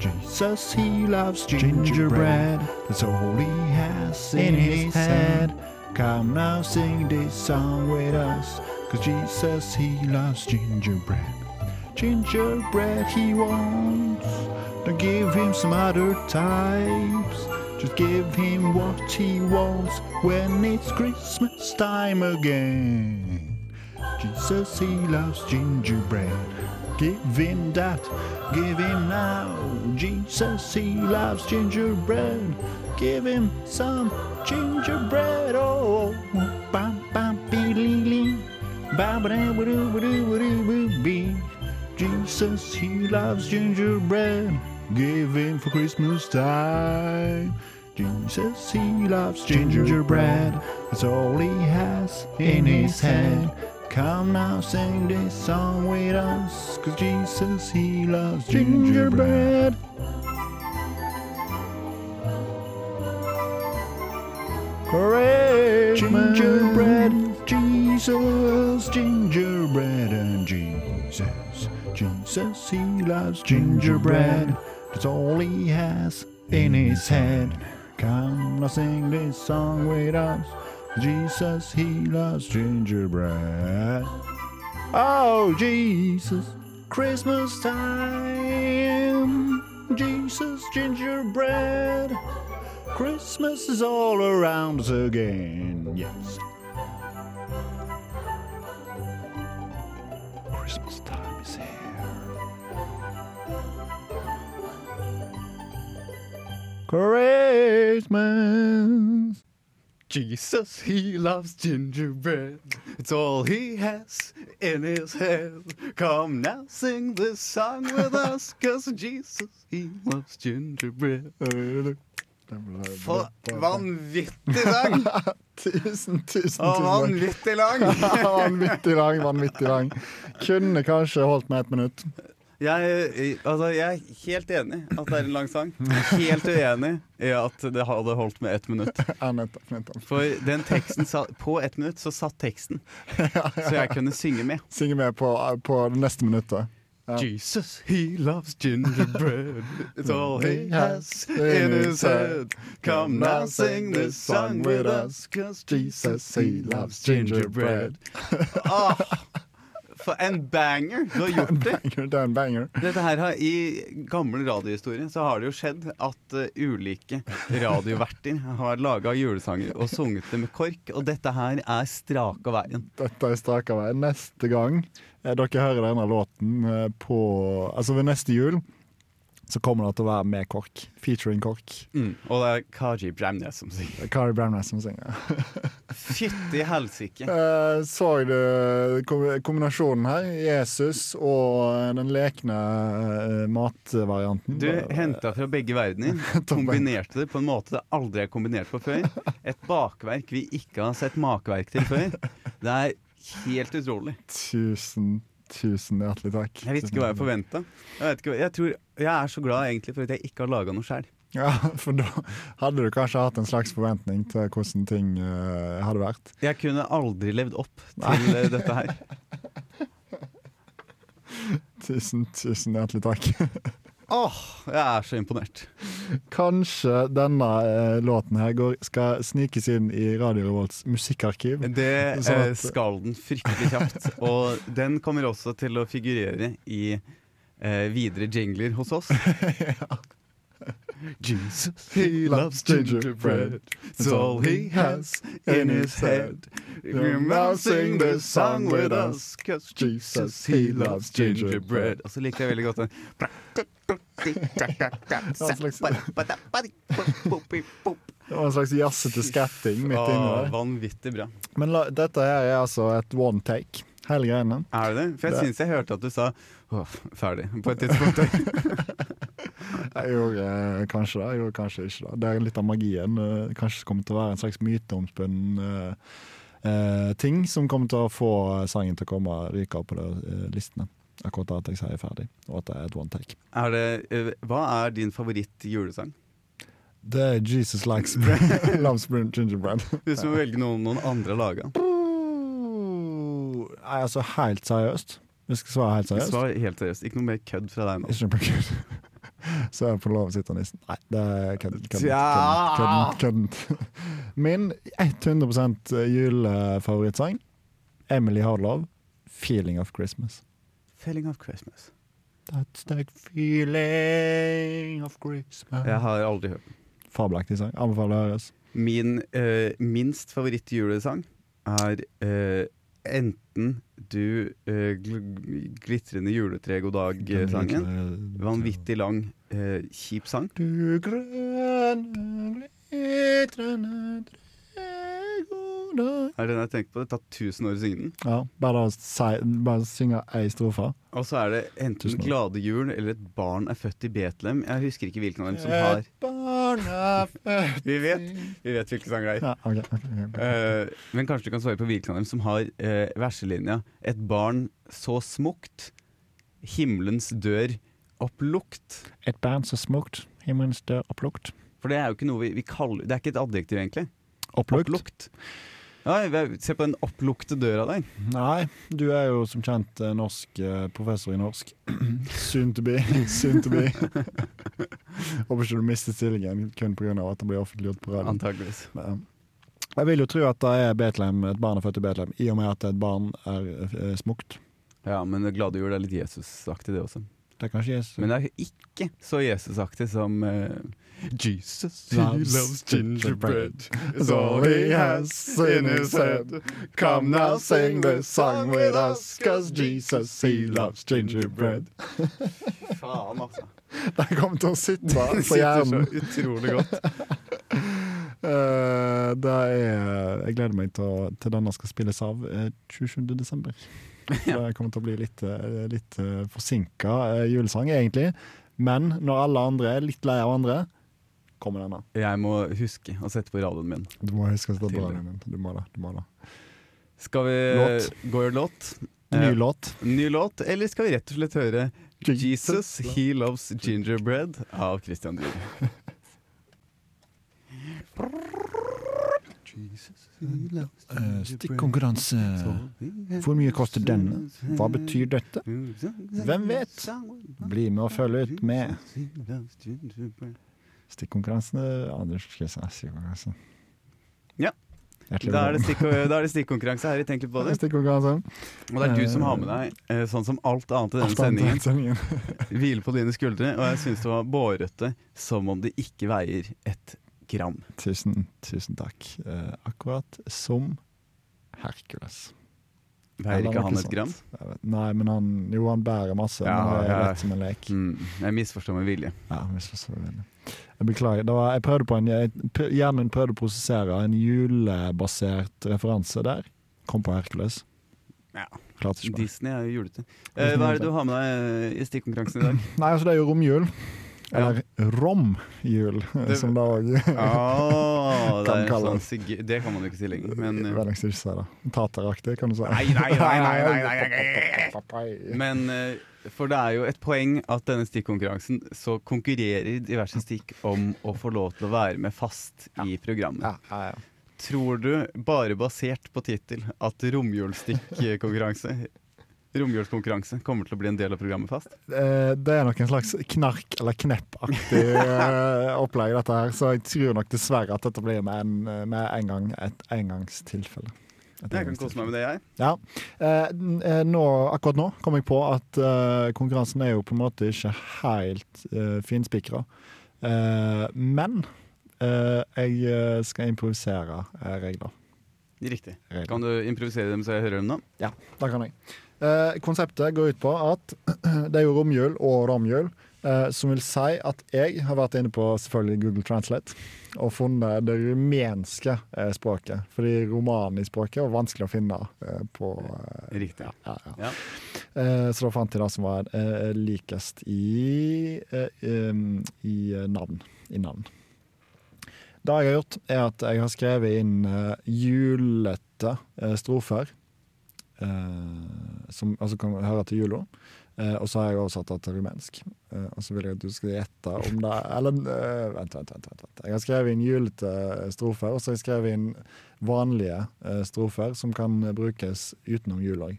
S1: Jesus, he loves gingerbread. That's all he has in his head. Come now, sing this song with us. Cause Jesus, he loves gingerbread. Gingerbread he wants. Don't give him some other types. Just give him what he wants when it's Christmas time again. Jesus, he loves gingerbread. Give him that, give him now. Jesus, he loves gingerbread. Give him some gingerbread. Oh, bam, bam, bee, bam, bam, Jesus, he loves gingerbread. Give him for Christmas time. Jesus, he loves gingerbread. That's all he has in his head. Come now, sing this song with us. Cause Jesus, he loves gingerbread. Correct. Gingerbread, Jesus, gingerbread and Jesus. Jesus, he loves gingerbread. That's all he has in his head. Come now sing this song with us. Jesus, he loves gingerbread. Oh, Jesus, Christmas time. Jesus, gingerbread. Christmas is all around us again. Yes. Christmas time is here. Christmas.
S2: Jesus, he loves gingerbread. It's all he has in his head. Come now, sing this song with us, cause Jesus, he loves gingerbread. For vanvittig sang!
S1: Tusen, tusen, tusen
S2: Og
S1: takk.
S2: vanvittig lang!
S1: Vanvittig lang, vanvittig lang. Kunne kanskje holdt med ett minutt.
S2: Jeg, jeg- altså, jeg er helt enig at det er en lang sang. Helt uenig i at det hadde holdt med ett minutt.
S1: Ja, nettopp, nettopp.
S2: For den teksten sa, på ett minutt så satt teksten, så jeg kunne synge med.
S1: Synge med på, på det neste minuttet. Ja.
S2: Jesus, he loves gingerbread. It's all Mm. he has in his head. Come now, sing this song with us, cause Jesus, he loves gingerbread. Ah! Åh, for en banger du har gjort det!
S1: Banger, det er en banger.
S2: Dette her har, I gammel radiohistorie så har det jo skjedd at eh, ulike radioverter har laga julesanger og sunget det med kork, og dette her er straka veien.
S1: Dette er straka vei. Neste gang eh, dere hører denne låten eh, på Altså ved neste jul, så kommer det til å være med KORK. Featuring KORK.
S2: Og det er Kaji Bramnes som sier
S1: Det er Kari Bramnes som synger.
S2: Fytti helsike.
S1: Eh, så du eh, kom- kombinasjonen her? Jesus og den lekne eh, matvarianten.
S2: Du henta fra begge verdener, kombinerte det på en måte det aldri er kombinert på før. Et bakverk vi ikke har sett makeverk til før. Det er helt utrolig.
S1: Tusen, tusen hjertelig takk.
S2: Jeg vet ikke hva jeg forventa. Jeg, vet ikke hva- jeg, tror- jeg er så glad egentlig for at jeg ikke har laga noe sjøl.
S1: Ja, For da hadde du kanskje hatt en slags forventning til hvordan ting eh, hadde vært.
S2: Jeg kunne aldri levd opp til eh, dette her.
S1: Tusen, tusen hjertelig takk.
S2: Åh, jeg er så imponert.
S1: Kanskje denne eh, låten her går, skal snikes inn i Radio Revolts musikkarkiv.
S2: Det
S1: Sånn at-
S2: eh, skal den fryktelig kjapt. Og den kommer også til å figurere i eh, videre jingler hos oss. Jesus, he loves gingerbread. It's all he has in his head. You now sing this song with us, cause Jesus, he loves gingerbread. Og så likte jeg veldig godt den.
S1: Det var en slags jazzete skatting midt inni
S2: Åh,
S1: der.
S2: vanvittig bra.
S1: Men la, dette her er altså et one take, hele greiene.
S2: Er det det? For
S1: Det-
S2: jeg syns jeg hørte at du sa Åh, ferdig på et tidspunkt.
S1: Jeg gjorde eh, kanskje det, jeg gjorde kanskje ikke det. Det er litt av magien. eh, Kanskje det kommer til å være en slags myteomspunnen eh, eh, ting som kommer til å få eh, sangen til å komme ryke opp på de eh, listene. Akkurat at jeg sier ferdig, og at det er et one take.
S2: Er det, eh, hva er din favoritt-julesang?
S1: Det er Jesus likes br- loves br- gingerbread.
S2: Hvis du må velge noen noen andre har laga.
S1: Nei, altså helt seriøst. Vi skal svare helt seriøst.
S2: Svar helt seriøst. Ikke noe mer kødd fra deg nå.
S1: Ikke på kødd. Så jeg får lov å sitte nissen. Nei, det er køddent.
S2: Tja.
S1: Køddent. køddent, køddent. Min 100 julefavorittsang, Emily Hardlove, 'Feeling of Christmas'.
S2: Felling of Christmas.
S1: That's the feeling of Christmas.
S2: Jeg har aldri hørt den.
S1: Fabelaktig sang. Anbefaler å høres.
S2: Min eh, minst favoritt-julesang er eh, enten du eh, gl glitrende juletre god dag-sangen. Vanvittig lang, eh, kjip sang.
S1: Du grønne, glitrende tre god dag
S2: Er det den jeg tenkte på? Det har tatt 1000 år å synge den.
S1: Ja, bare, å si, bare synge ei strofe.
S2: Og så er det enten
S1: Tusen takk.
S2: Glade jul eller Et barn er født i Betlehem. Jeg husker ikke hvilken av dem som
S1: barn
S2: har
S1: er født
S2: Eh, Vi vet, vi vet hvilken sang det er.
S1: ja, ok, ok, ok.
S2: Eh, men kanskje du kan svare på hvilken av dem som har eh, verselinja 'Et barn så smukt, himmelens dør opplukt'.
S1: Et barn så smukt, himmelens dør opplukt.
S2: For det er jo ikke noe vi, vi kaller Det er ikke et adjektiv, egentlig.
S1: Opplukt?
S2: Opplukt. Ja, jeg- se på den opplukte døra der.
S1: Nei, du er jo som kjent eh, norsk eh, professor i norsk. Soon to be. Soon to be. Håper ikke du mister stillingen kun pga. at det blir offentliggjort på radioen.
S2: Antakeligvis.
S1: Men, Jeg vil jo tro at det er Betlehem, et barn er født i Betlehem, i og med at et barn er eh, smukt.
S2: Ja, men glade jul er litt Jesusaktig, det også.
S1: Det er kanskje Jesus.
S2: Men det er ikke så Jesusaktig som eh, Jesus
S1: He loves gingerbread. It's all he has in his head. Come now, sing this song with us, cause Jesus, he loves gingerbread.
S2: Faen, altså.
S1: Den kom til å sitte
S2: Det
S1: på
S2: sitter så
S1: hjernen.
S2: utrolig godt.
S1: Eh, det er, jeg gleder meg til, å- til den skal spilles av eh, 27. desember. Så Det kommer til å bli litt, eh, litt eh, forsinka eh, julesang, egentlig. Men når alle andre er litt lei av andre, kommer denne.
S2: Jeg må huske å sette på radioen min.
S1: Du må huske å stå på
S2: Tidlig.
S1: radioen din. Du må det. Du må det.
S2: Skal vi
S1: Låt.
S2: gå i låt?
S1: Ny
S2: Eh,
S1: låt.
S2: Ny låt, eller skal vi rett og slett høre Jesus,
S1: Jesus
S2: He Loves Gingerbread av Christian Dyhr.
S1: Eh, Stikkonkurranse. Eh, Hvor mye koster denne? Hva betyr dette? Hvem vet? Bli med og følg ut med Stikkonkurransen eh, Anders Kristian Stikkonkurransen.
S2: Ja.
S1: Hjertelig
S2: Da er det
S1: velkommen.
S2: stikk- da er det stikkonkurranse. Har jeg tenkt litt på det?
S1: Stikkonkurransen.
S2: Og det er du som har med deg, eh, sånn som alt annet i denne
S1: Alt annet
S2: sendingen,
S1: enn sendingen.
S2: hviler på dine skuldre. Og jeg syns det var bårete som om det ikke veier ett gram.
S1: Tusen, tusen takk. Eh, akkurat som Hercules.
S2: Veier
S1: Eller
S2: ikke
S1: noe
S2: han
S1: sånt.
S2: et gram?
S1: Jeg vet- Nei, men han, jo, han bærer masse,
S2: Ja,
S1: men det er
S2: ja.
S1: lett som en lek.
S2: Mm, jeg misforstår med vilje.
S1: Ja, hvis jeg, så det. jeg beklager. Det var, jeg prøvde på en, jeg, pr- hjernen min prøvde å prosessere en julebasert referanse der. Kom på Hercules.
S2: Ja.
S1: Klarte ikke mer.
S2: Disney er jo julete. Eh, hva er det du har med deg eh, i stikkonkurransen i dag?
S1: Nei, altså det er jo romjul.
S2: Ja.
S1: Eller romjul,
S2: Det-
S1: som det òg
S2: Åh, det,
S1: Kan
S2: er en
S1: kalle
S2: sånn sigur- det kan man jo ikke si lenger. Men, eh,
S1: Vel, jeg skal ikke si det. Tateraktig, kan du si.
S2: Nei, nei, nei, nei, nei, nei, men eh, for det er jo et poeng at denne stikkonkurransen så konkurrerer diverse stikk om å få lov til å være med fast i programmet.
S1: Ja, ja, ja.
S2: Tror du, bare basert på tittel, at romjulsstikkkonkurranse Romjulskonkurranse kommer til å bli en del av programmet fast?
S1: Eh, Det er nok en slags knark- eller kneppaktig eh, opplegg, dette her. Så jeg tror nok dessverre at dette blir med en, eh, med en gang et engangstilfelle. Et
S2: Jeg kan kose meg med det, jeg.
S1: Ja. Eh, n- eh, nå, akkurat nå kom jeg på at eh, konkurransen er jo på en måte ikke helt eh, finspikra. Eh, men eh, jeg eh, skal improvisere eh, regler.
S2: Riktig.
S1: regler.
S2: Kan du improvisere dem så jeg hører dem nå?
S1: Det kan jeg. Eh, konseptet går ut på at det er jo romjul og romjul, eh, som vil si at jeg har vært inne på selvfølgelig Google Translate og funnet det rumenske eh, språket. Fordi romanen i språket var vanskelig å finne eh, på eh,
S2: Riktig.
S1: ja, ja.
S2: Ja.
S1: Eh, så da fant jeg det som var eh, likest i, eh, em, i eh, navn. I navn. Det jeg har gjort, er at jeg har skrevet inn eh, julete eh, strofer. Eh, som altså kan høre til jula. Eh, og så har jeg oversatt det til rumensk. Eh, og så vil jeg at du skal gjette om det Eller eh, vent, vent, vent, vent, vent. Jeg har skrevet inn julete eh, strofer, og så har jeg skrevet inn vanlige eh, strofer som kan brukes utenom jul òg.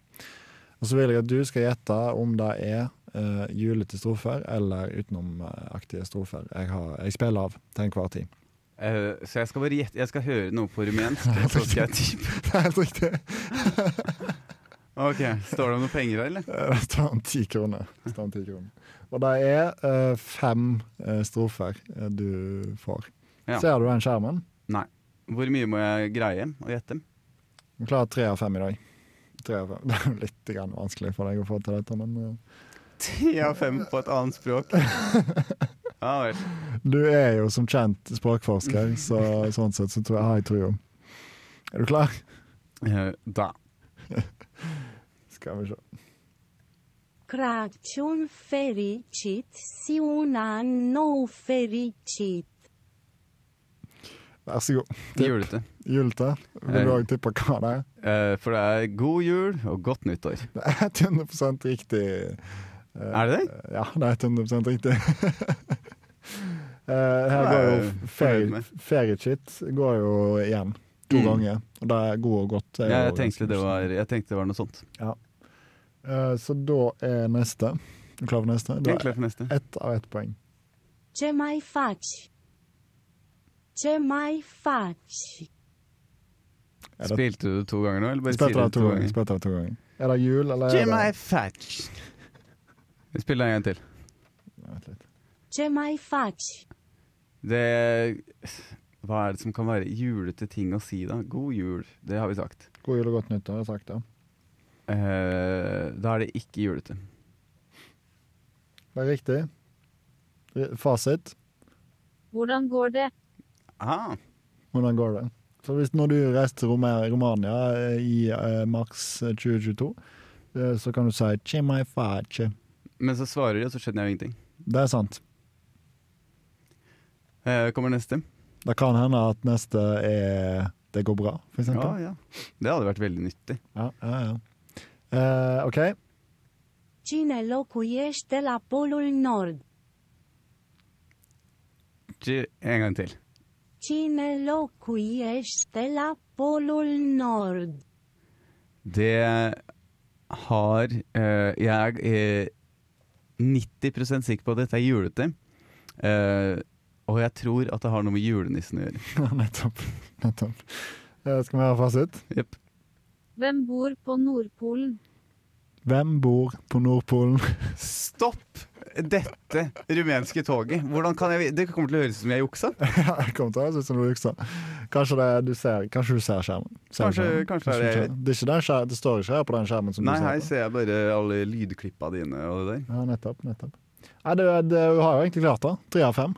S1: Og så vil jeg at du skal gjette om det er eh, julete strofer eller utenomaktige strofer jeg, har, jeg spiller av til enhver tid.
S2: Eh, så jeg skal bare gjette Jeg skal høre noe på rumensk, og så skal jeg tippe.
S1: Det er helt riktig.
S2: Ok, Står det om noen penger her, eller?
S1: Eh, Det står om ti kroner. Det står om 10 kroner. Og det er eh, fem eh, strofer eh, du får.
S2: Ja.
S1: Ser du den skjermen?
S2: Hvor mye må jeg greie å gjette?
S1: Du klarer tre av fem i dag. Tre av fem. Det er jo litt grann vanskelig for deg å få til dette, men eh,
S2: Tre av fem på et annet språk. Ja vel.
S1: eh, Du er jo som kjent språkforsker, så sånn sett så tror jeg, har jeg trua. Er du klar?
S2: Eh, da.
S1: Skal vi se.
S3: Crăciun fericit și un an nou fericit.
S1: Vær så god.
S2: Julete.
S1: Julete. Vil du òg tippe hva det er?
S2: Eh, for det er god jul og godt nyttår.
S1: Det er 100 riktig. eh,
S2: Er det det?
S1: Ja, det er 100 riktig. Eh, her går
S2: Det er jeg
S1: jo
S2: fornøyd
S1: ferie-
S2: med.
S1: feriekit går jo igjen to
S2: Mm.
S1: ganger. Og det er god og godt. er
S2: Ja, jeg,
S1: jo
S2: tenkte
S1: ganske
S2: det var, jeg tenkte det var noe sånt.
S1: Eh, Så da er neste. Er du klar for neste?
S2: Jeg
S1: Da
S2: er klar for neste.
S1: er ett av ett poeng.
S3: Ce mai faci? Ce mai faci?
S1: Er det-
S2: Spilte du det to ganger nå, eller bare
S1: Spilte
S2: sier du
S1: det
S2: det
S1: to ganger. Spilte det to ganger. Er det jul, eller er
S2: Jim I
S1: det
S2: Fatch. Vi spiller en gang til.
S1: Vent litt.
S3: Ce mai faci?
S2: Det Hva er det som kan være julete ting å si, da? God jul, det har vi sagt.
S1: God jul og godt nyttår, har jeg sagt det.
S2: Eh, da er det ikke julete.
S1: Det er riktig. Ri- Fasit.
S4: Hvordan går det?
S2: Ah,
S1: Hvordan går det? Så hvis når du reiser til Roma- Romania eh, i eh, mars 2022, eh, så kan du si Chimai fache.
S2: men så svarer de, og så skjønner jeg jo ingenting.
S1: Det er sant.
S2: Eh, kommer neste.
S1: Det kan hende at neste er Det går bra, for
S2: Ja,
S1: eksempel.
S2: Ah, ja. Det hadde vært veldig nyttig.
S1: Ja, ja, ja. Eh, OK.
S3: Cine locuiește la Polul Nord?
S2: Gi- En gang til.
S3: Cine locuiește la Polul Nord?
S2: Det har eh, Jeg er 90 sikker på at dette er julete. Eh, og jeg tror at det har noe med julenissen å gjøre.
S1: Nettopp. Nettopp. Eh, skal vi ha fasit?
S2: Jepp.
S4: Hvem bor på Nordpolen?
S1: Hvem bor på Nordpolen?
S2: Stopp dette rumenske toget! Hvordan kan jeg Det kommer til å høres ut som jeg juksa.
S1: Ja, jeg kom til å høres ut som du juksa. Kanskje, det, er- du ser- kanskje du ser skjermen? Ser du
S2: Kanskje-
S1: skjermen?
S2: kanskje det er
S1: du
S2: det.
S1: ser- det, er ikke den skjer- det står ikke her på den skjermen som
S2: Nei,
S1: du
S2: her
S1: ser på.
S2: ser jeg bare alle lydklippa dine og det der.
S1: Ja, nettopp, nettopp. Nei, du, du har jo egentlig klart det. Tre av fem.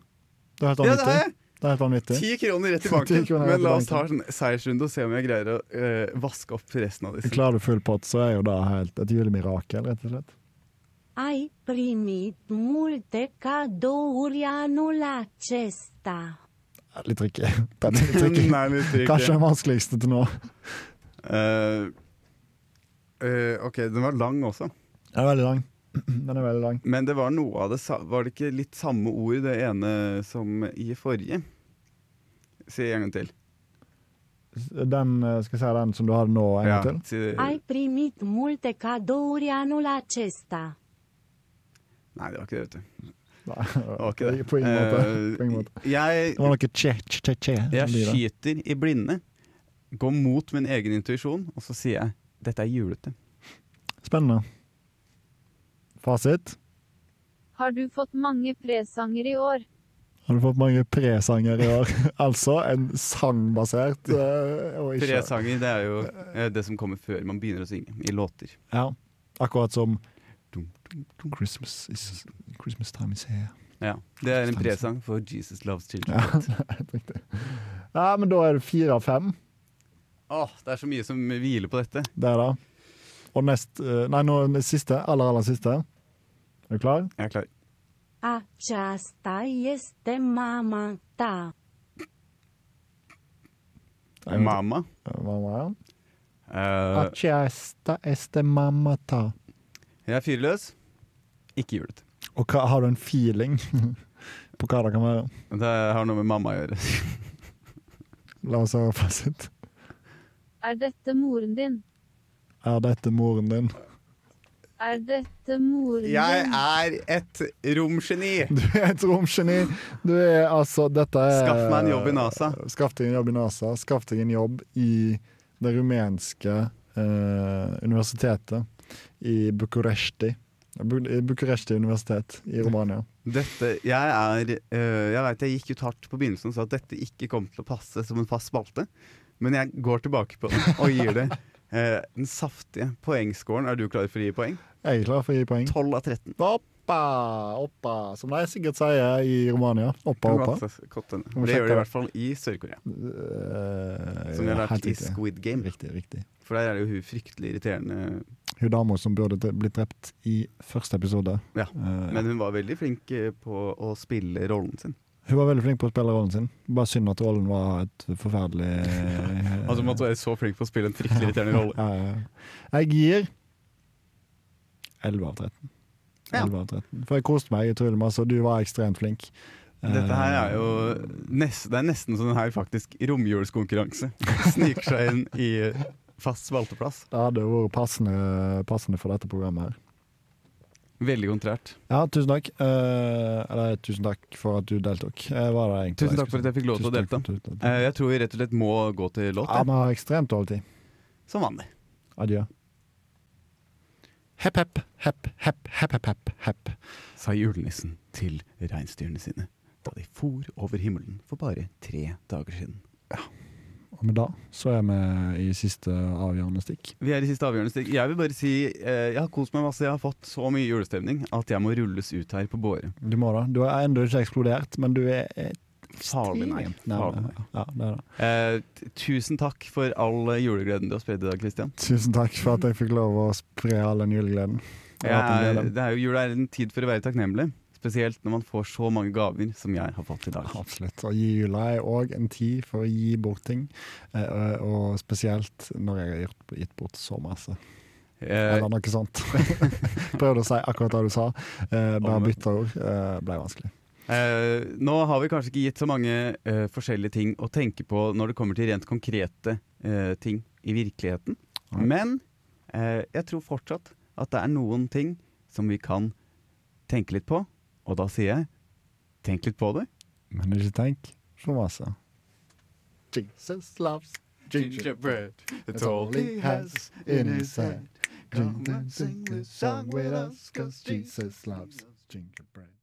S1: Det er helt
S2: Ja, det har
S1: vanvittig.
S2: jeg!
S1: Det er helt vanvittig.
S2: Ti kroner rett i
S1: Ti
S2: banken.
S1: kroner rett i
S2: Men la oss ta
S1: banken.
S2: en seiersrunde og se om jeg greier å eh, vaske opp resten av disse.
S1: Klarer du full pott, så er jo det helt et julemirakel, rett og slett.
S3: Ai primit multe cadouri anul acesta.
S1: Litt tricky. Den er litt tricky.
S2: Den er litt trykk,
S1: Kanskje
S2: ja.
S1: den vanskeligste til nå.
S2: Eh, eh, OK, den var lang også.
S1: Den er veldig lang. Den er veldig lang.
S2: Men det var noe av det sa- Var det ikke litt samme ord det ene som i forrige? Si en gang til.
S1: Den, eh, skal jeg si den som du hadde nå, en gang til?
S2: si det.
S3: Ai primit multe cadouri anul acesta.
S2: Nei, det var ikke det, vet du.
S1: Nei,
S2: Det var ikke det.
S1: På ingen måte.
S2: Eh,
S1: På ingen måte. Det var
S2: Jeg,
S1: noe che-che-che.
S2: jeg skyter i blinde, går mot min egen intuisjon, og så sier jeg 'dette er julete'.
S1: Spennende. Fasit.
S4: Har du fått mange presanger i år?
S1: Har du fått mange presanger i år? altså en sangbasert eh, og ikke
S2: Presanger, det er jo eh, det som kommer før man begynner å synge, i låter.
S1: Ja. Akkurat som
S2: Dum, dum, dum.
S1: Christmas, is, Christmas time is here.
S2: Ja, Det er en presang for Jesus Loves Children.
S1: Ja, helt riktig. Ja, men da er det fire av fem.
S2: Åh, det er så mye som hviler på dette.
S1: Det er det. Og nest eh, Nei, nå den siste. Aller, aller siste. Er du klar?
S2: Jeg er klar.
S3: Aceasta este mama ta.
S2: Mama.
S1: Mamma, ja.
S2: Eh,
S1: Acesta este mamma ta.
S2: jeg er fyrløs. Ikke julete.
S1: Og hva, har du en feeling på hva det kan være?
S2: Det har noe med mamma å gjøre.
S1: La oss høre fasit.
S4: Er dette moren din?
S1: Er dette moren din?
S4: Er dette moren din?
S2: er et romgeni!
S1: Du er et romgeni. Du er altså Dette er
S2: Skaff meg en jobb i NASA.
S1: Skaff deg en jobb i NASA. Skaff deg en jobb i det rumenske eh, universitetet i Bucuresti. Bu i Bucuresti universitet i Romania.
S2: Dette, jeg er eh, Jeg vet jeg gikk ut hardt på begynnelsen og sa at dette ikke kom til å passe som en fast spalte, men jeg går tilbake på den og gir det eh, den saftige poengscoren. Er du klar for å gi poeng?
S1: Jeg er klar for å gi poeng.
S2: 12 av 13.
S1: Oppa, oppa, som de sikkert sier i Romania. Oppa, oppa.
S2: Godt hende.
S1: Må sjekke
S2: Det gjør det
S1: det.
S2: i hvert fall i Sør-Korea,
S1: Eh,
S2: som vi har
S1: helt
S2: lært i
S1: riktig.
S2: Squid Game.
S1: Riktig, riktig.
S2: For der er det jo hun fryktelig irriterende
S1: Hun dama som burde dre- blitt drept i første episode.
S2: Ja,
S1: Eh,
S2: Men hun var veldig flink eh, på å spille rollen sin.
S1: Hun var veldig flink på å spille rollen sin. Bare synd at rollen var et forferdelig
S2: Altså måtte være så flink på å spille en fryktelig irriterende
S5: eh,
S2: rolle.
S1: Ja, ja, ja. Jeg gir 11 av 13.
S2: Ja.
S1: 11 av 13. For jeg koste meg utrolig masse, og du var ekstremt flink.
S2: Dette her
S5: Eh,
S2: er jo nest, Det er nesten sånn her faktisk romjulskonkurranse. Sniker seg inn i fast spalteplass.
S1: Det hadde vært passende, passende for dette programmet her.
S2: Veldig kontrært.
S5: Ja, tusen takk. Eh, eller tusen takk for at du deltok. Eh, var det egentlig
S2: Tusen
S5: det
S2: takk for at jeg fikk lov til å
S5: Tusen takk
S2: delta.
S5: for at du deltok.
S2: Eh, Jeg tror vi rett og slett må gå til låt,
S5: Ja,
S2: jeg.
S5: vi har ekstremt dårlig tid.
S2: som vanlig.
S5: Adjø. Hepp, hepp, hepp, hepp, hepp, hepp, hepp, hepp.
S2: Sa julenissen til reinsdyrene sine da de for over himmelen for bare tre dager siden.
S5: Og med det så er vi i siste avgjørende stikk.
S2: Vi er i siste avgjørende stikk. Jeg vil bare si eh, jeg har kost meg masse. Jeg har fått så mye julestemning at jeg må rulles ut her på båre.
S5: Du må da. Du har ennå ikke eksplodert, men du er et
S2: Farlig nei. Farlig nei.
S5: Ja, det er det.
S2: Eh, t- tusen takk for all eh, julegleden du har spredd i dag, Christian.
S5: Tusen takk for at jeg fikk lov å spre all den julegleden. Jeg har hatt en
S2: Jeg er,
S5: del av den.
S2: det er jo, jula er en tid for å være takknemlig. Spesielt når man får så mange gaver som jeg har fått i dag.
S5: Absolutt. Og jula er òg en tid for å gi bort ting, eh, og- og spesielt når jeg har gjort- gitt bort så masse.
S2: Eh,
S5: Eller noe sånt. Prøvde å si akkurat det du sa, eh, bare
S2: Om-
S5: bytta ord. eh, Ble vanskelig.
S2: eh, nå har vi kanskje ikke gitt så mange eh, forskjellige ting å tenke på når det kommer til rent konkrete eh, ting i virkeligheten.
S5: Nei.
S2: Men eh, jeg tror fortsatt at det er noen ting som vi kan tenke litt på. Og da sier jeg tenk litt på det.
S5: Men er ikke tenk for masse. Jesus loves
S2: Gingerbread,
S5: That's all he has in his hand. Come and sing this song with us, 'cause Jesus loves gingerbread.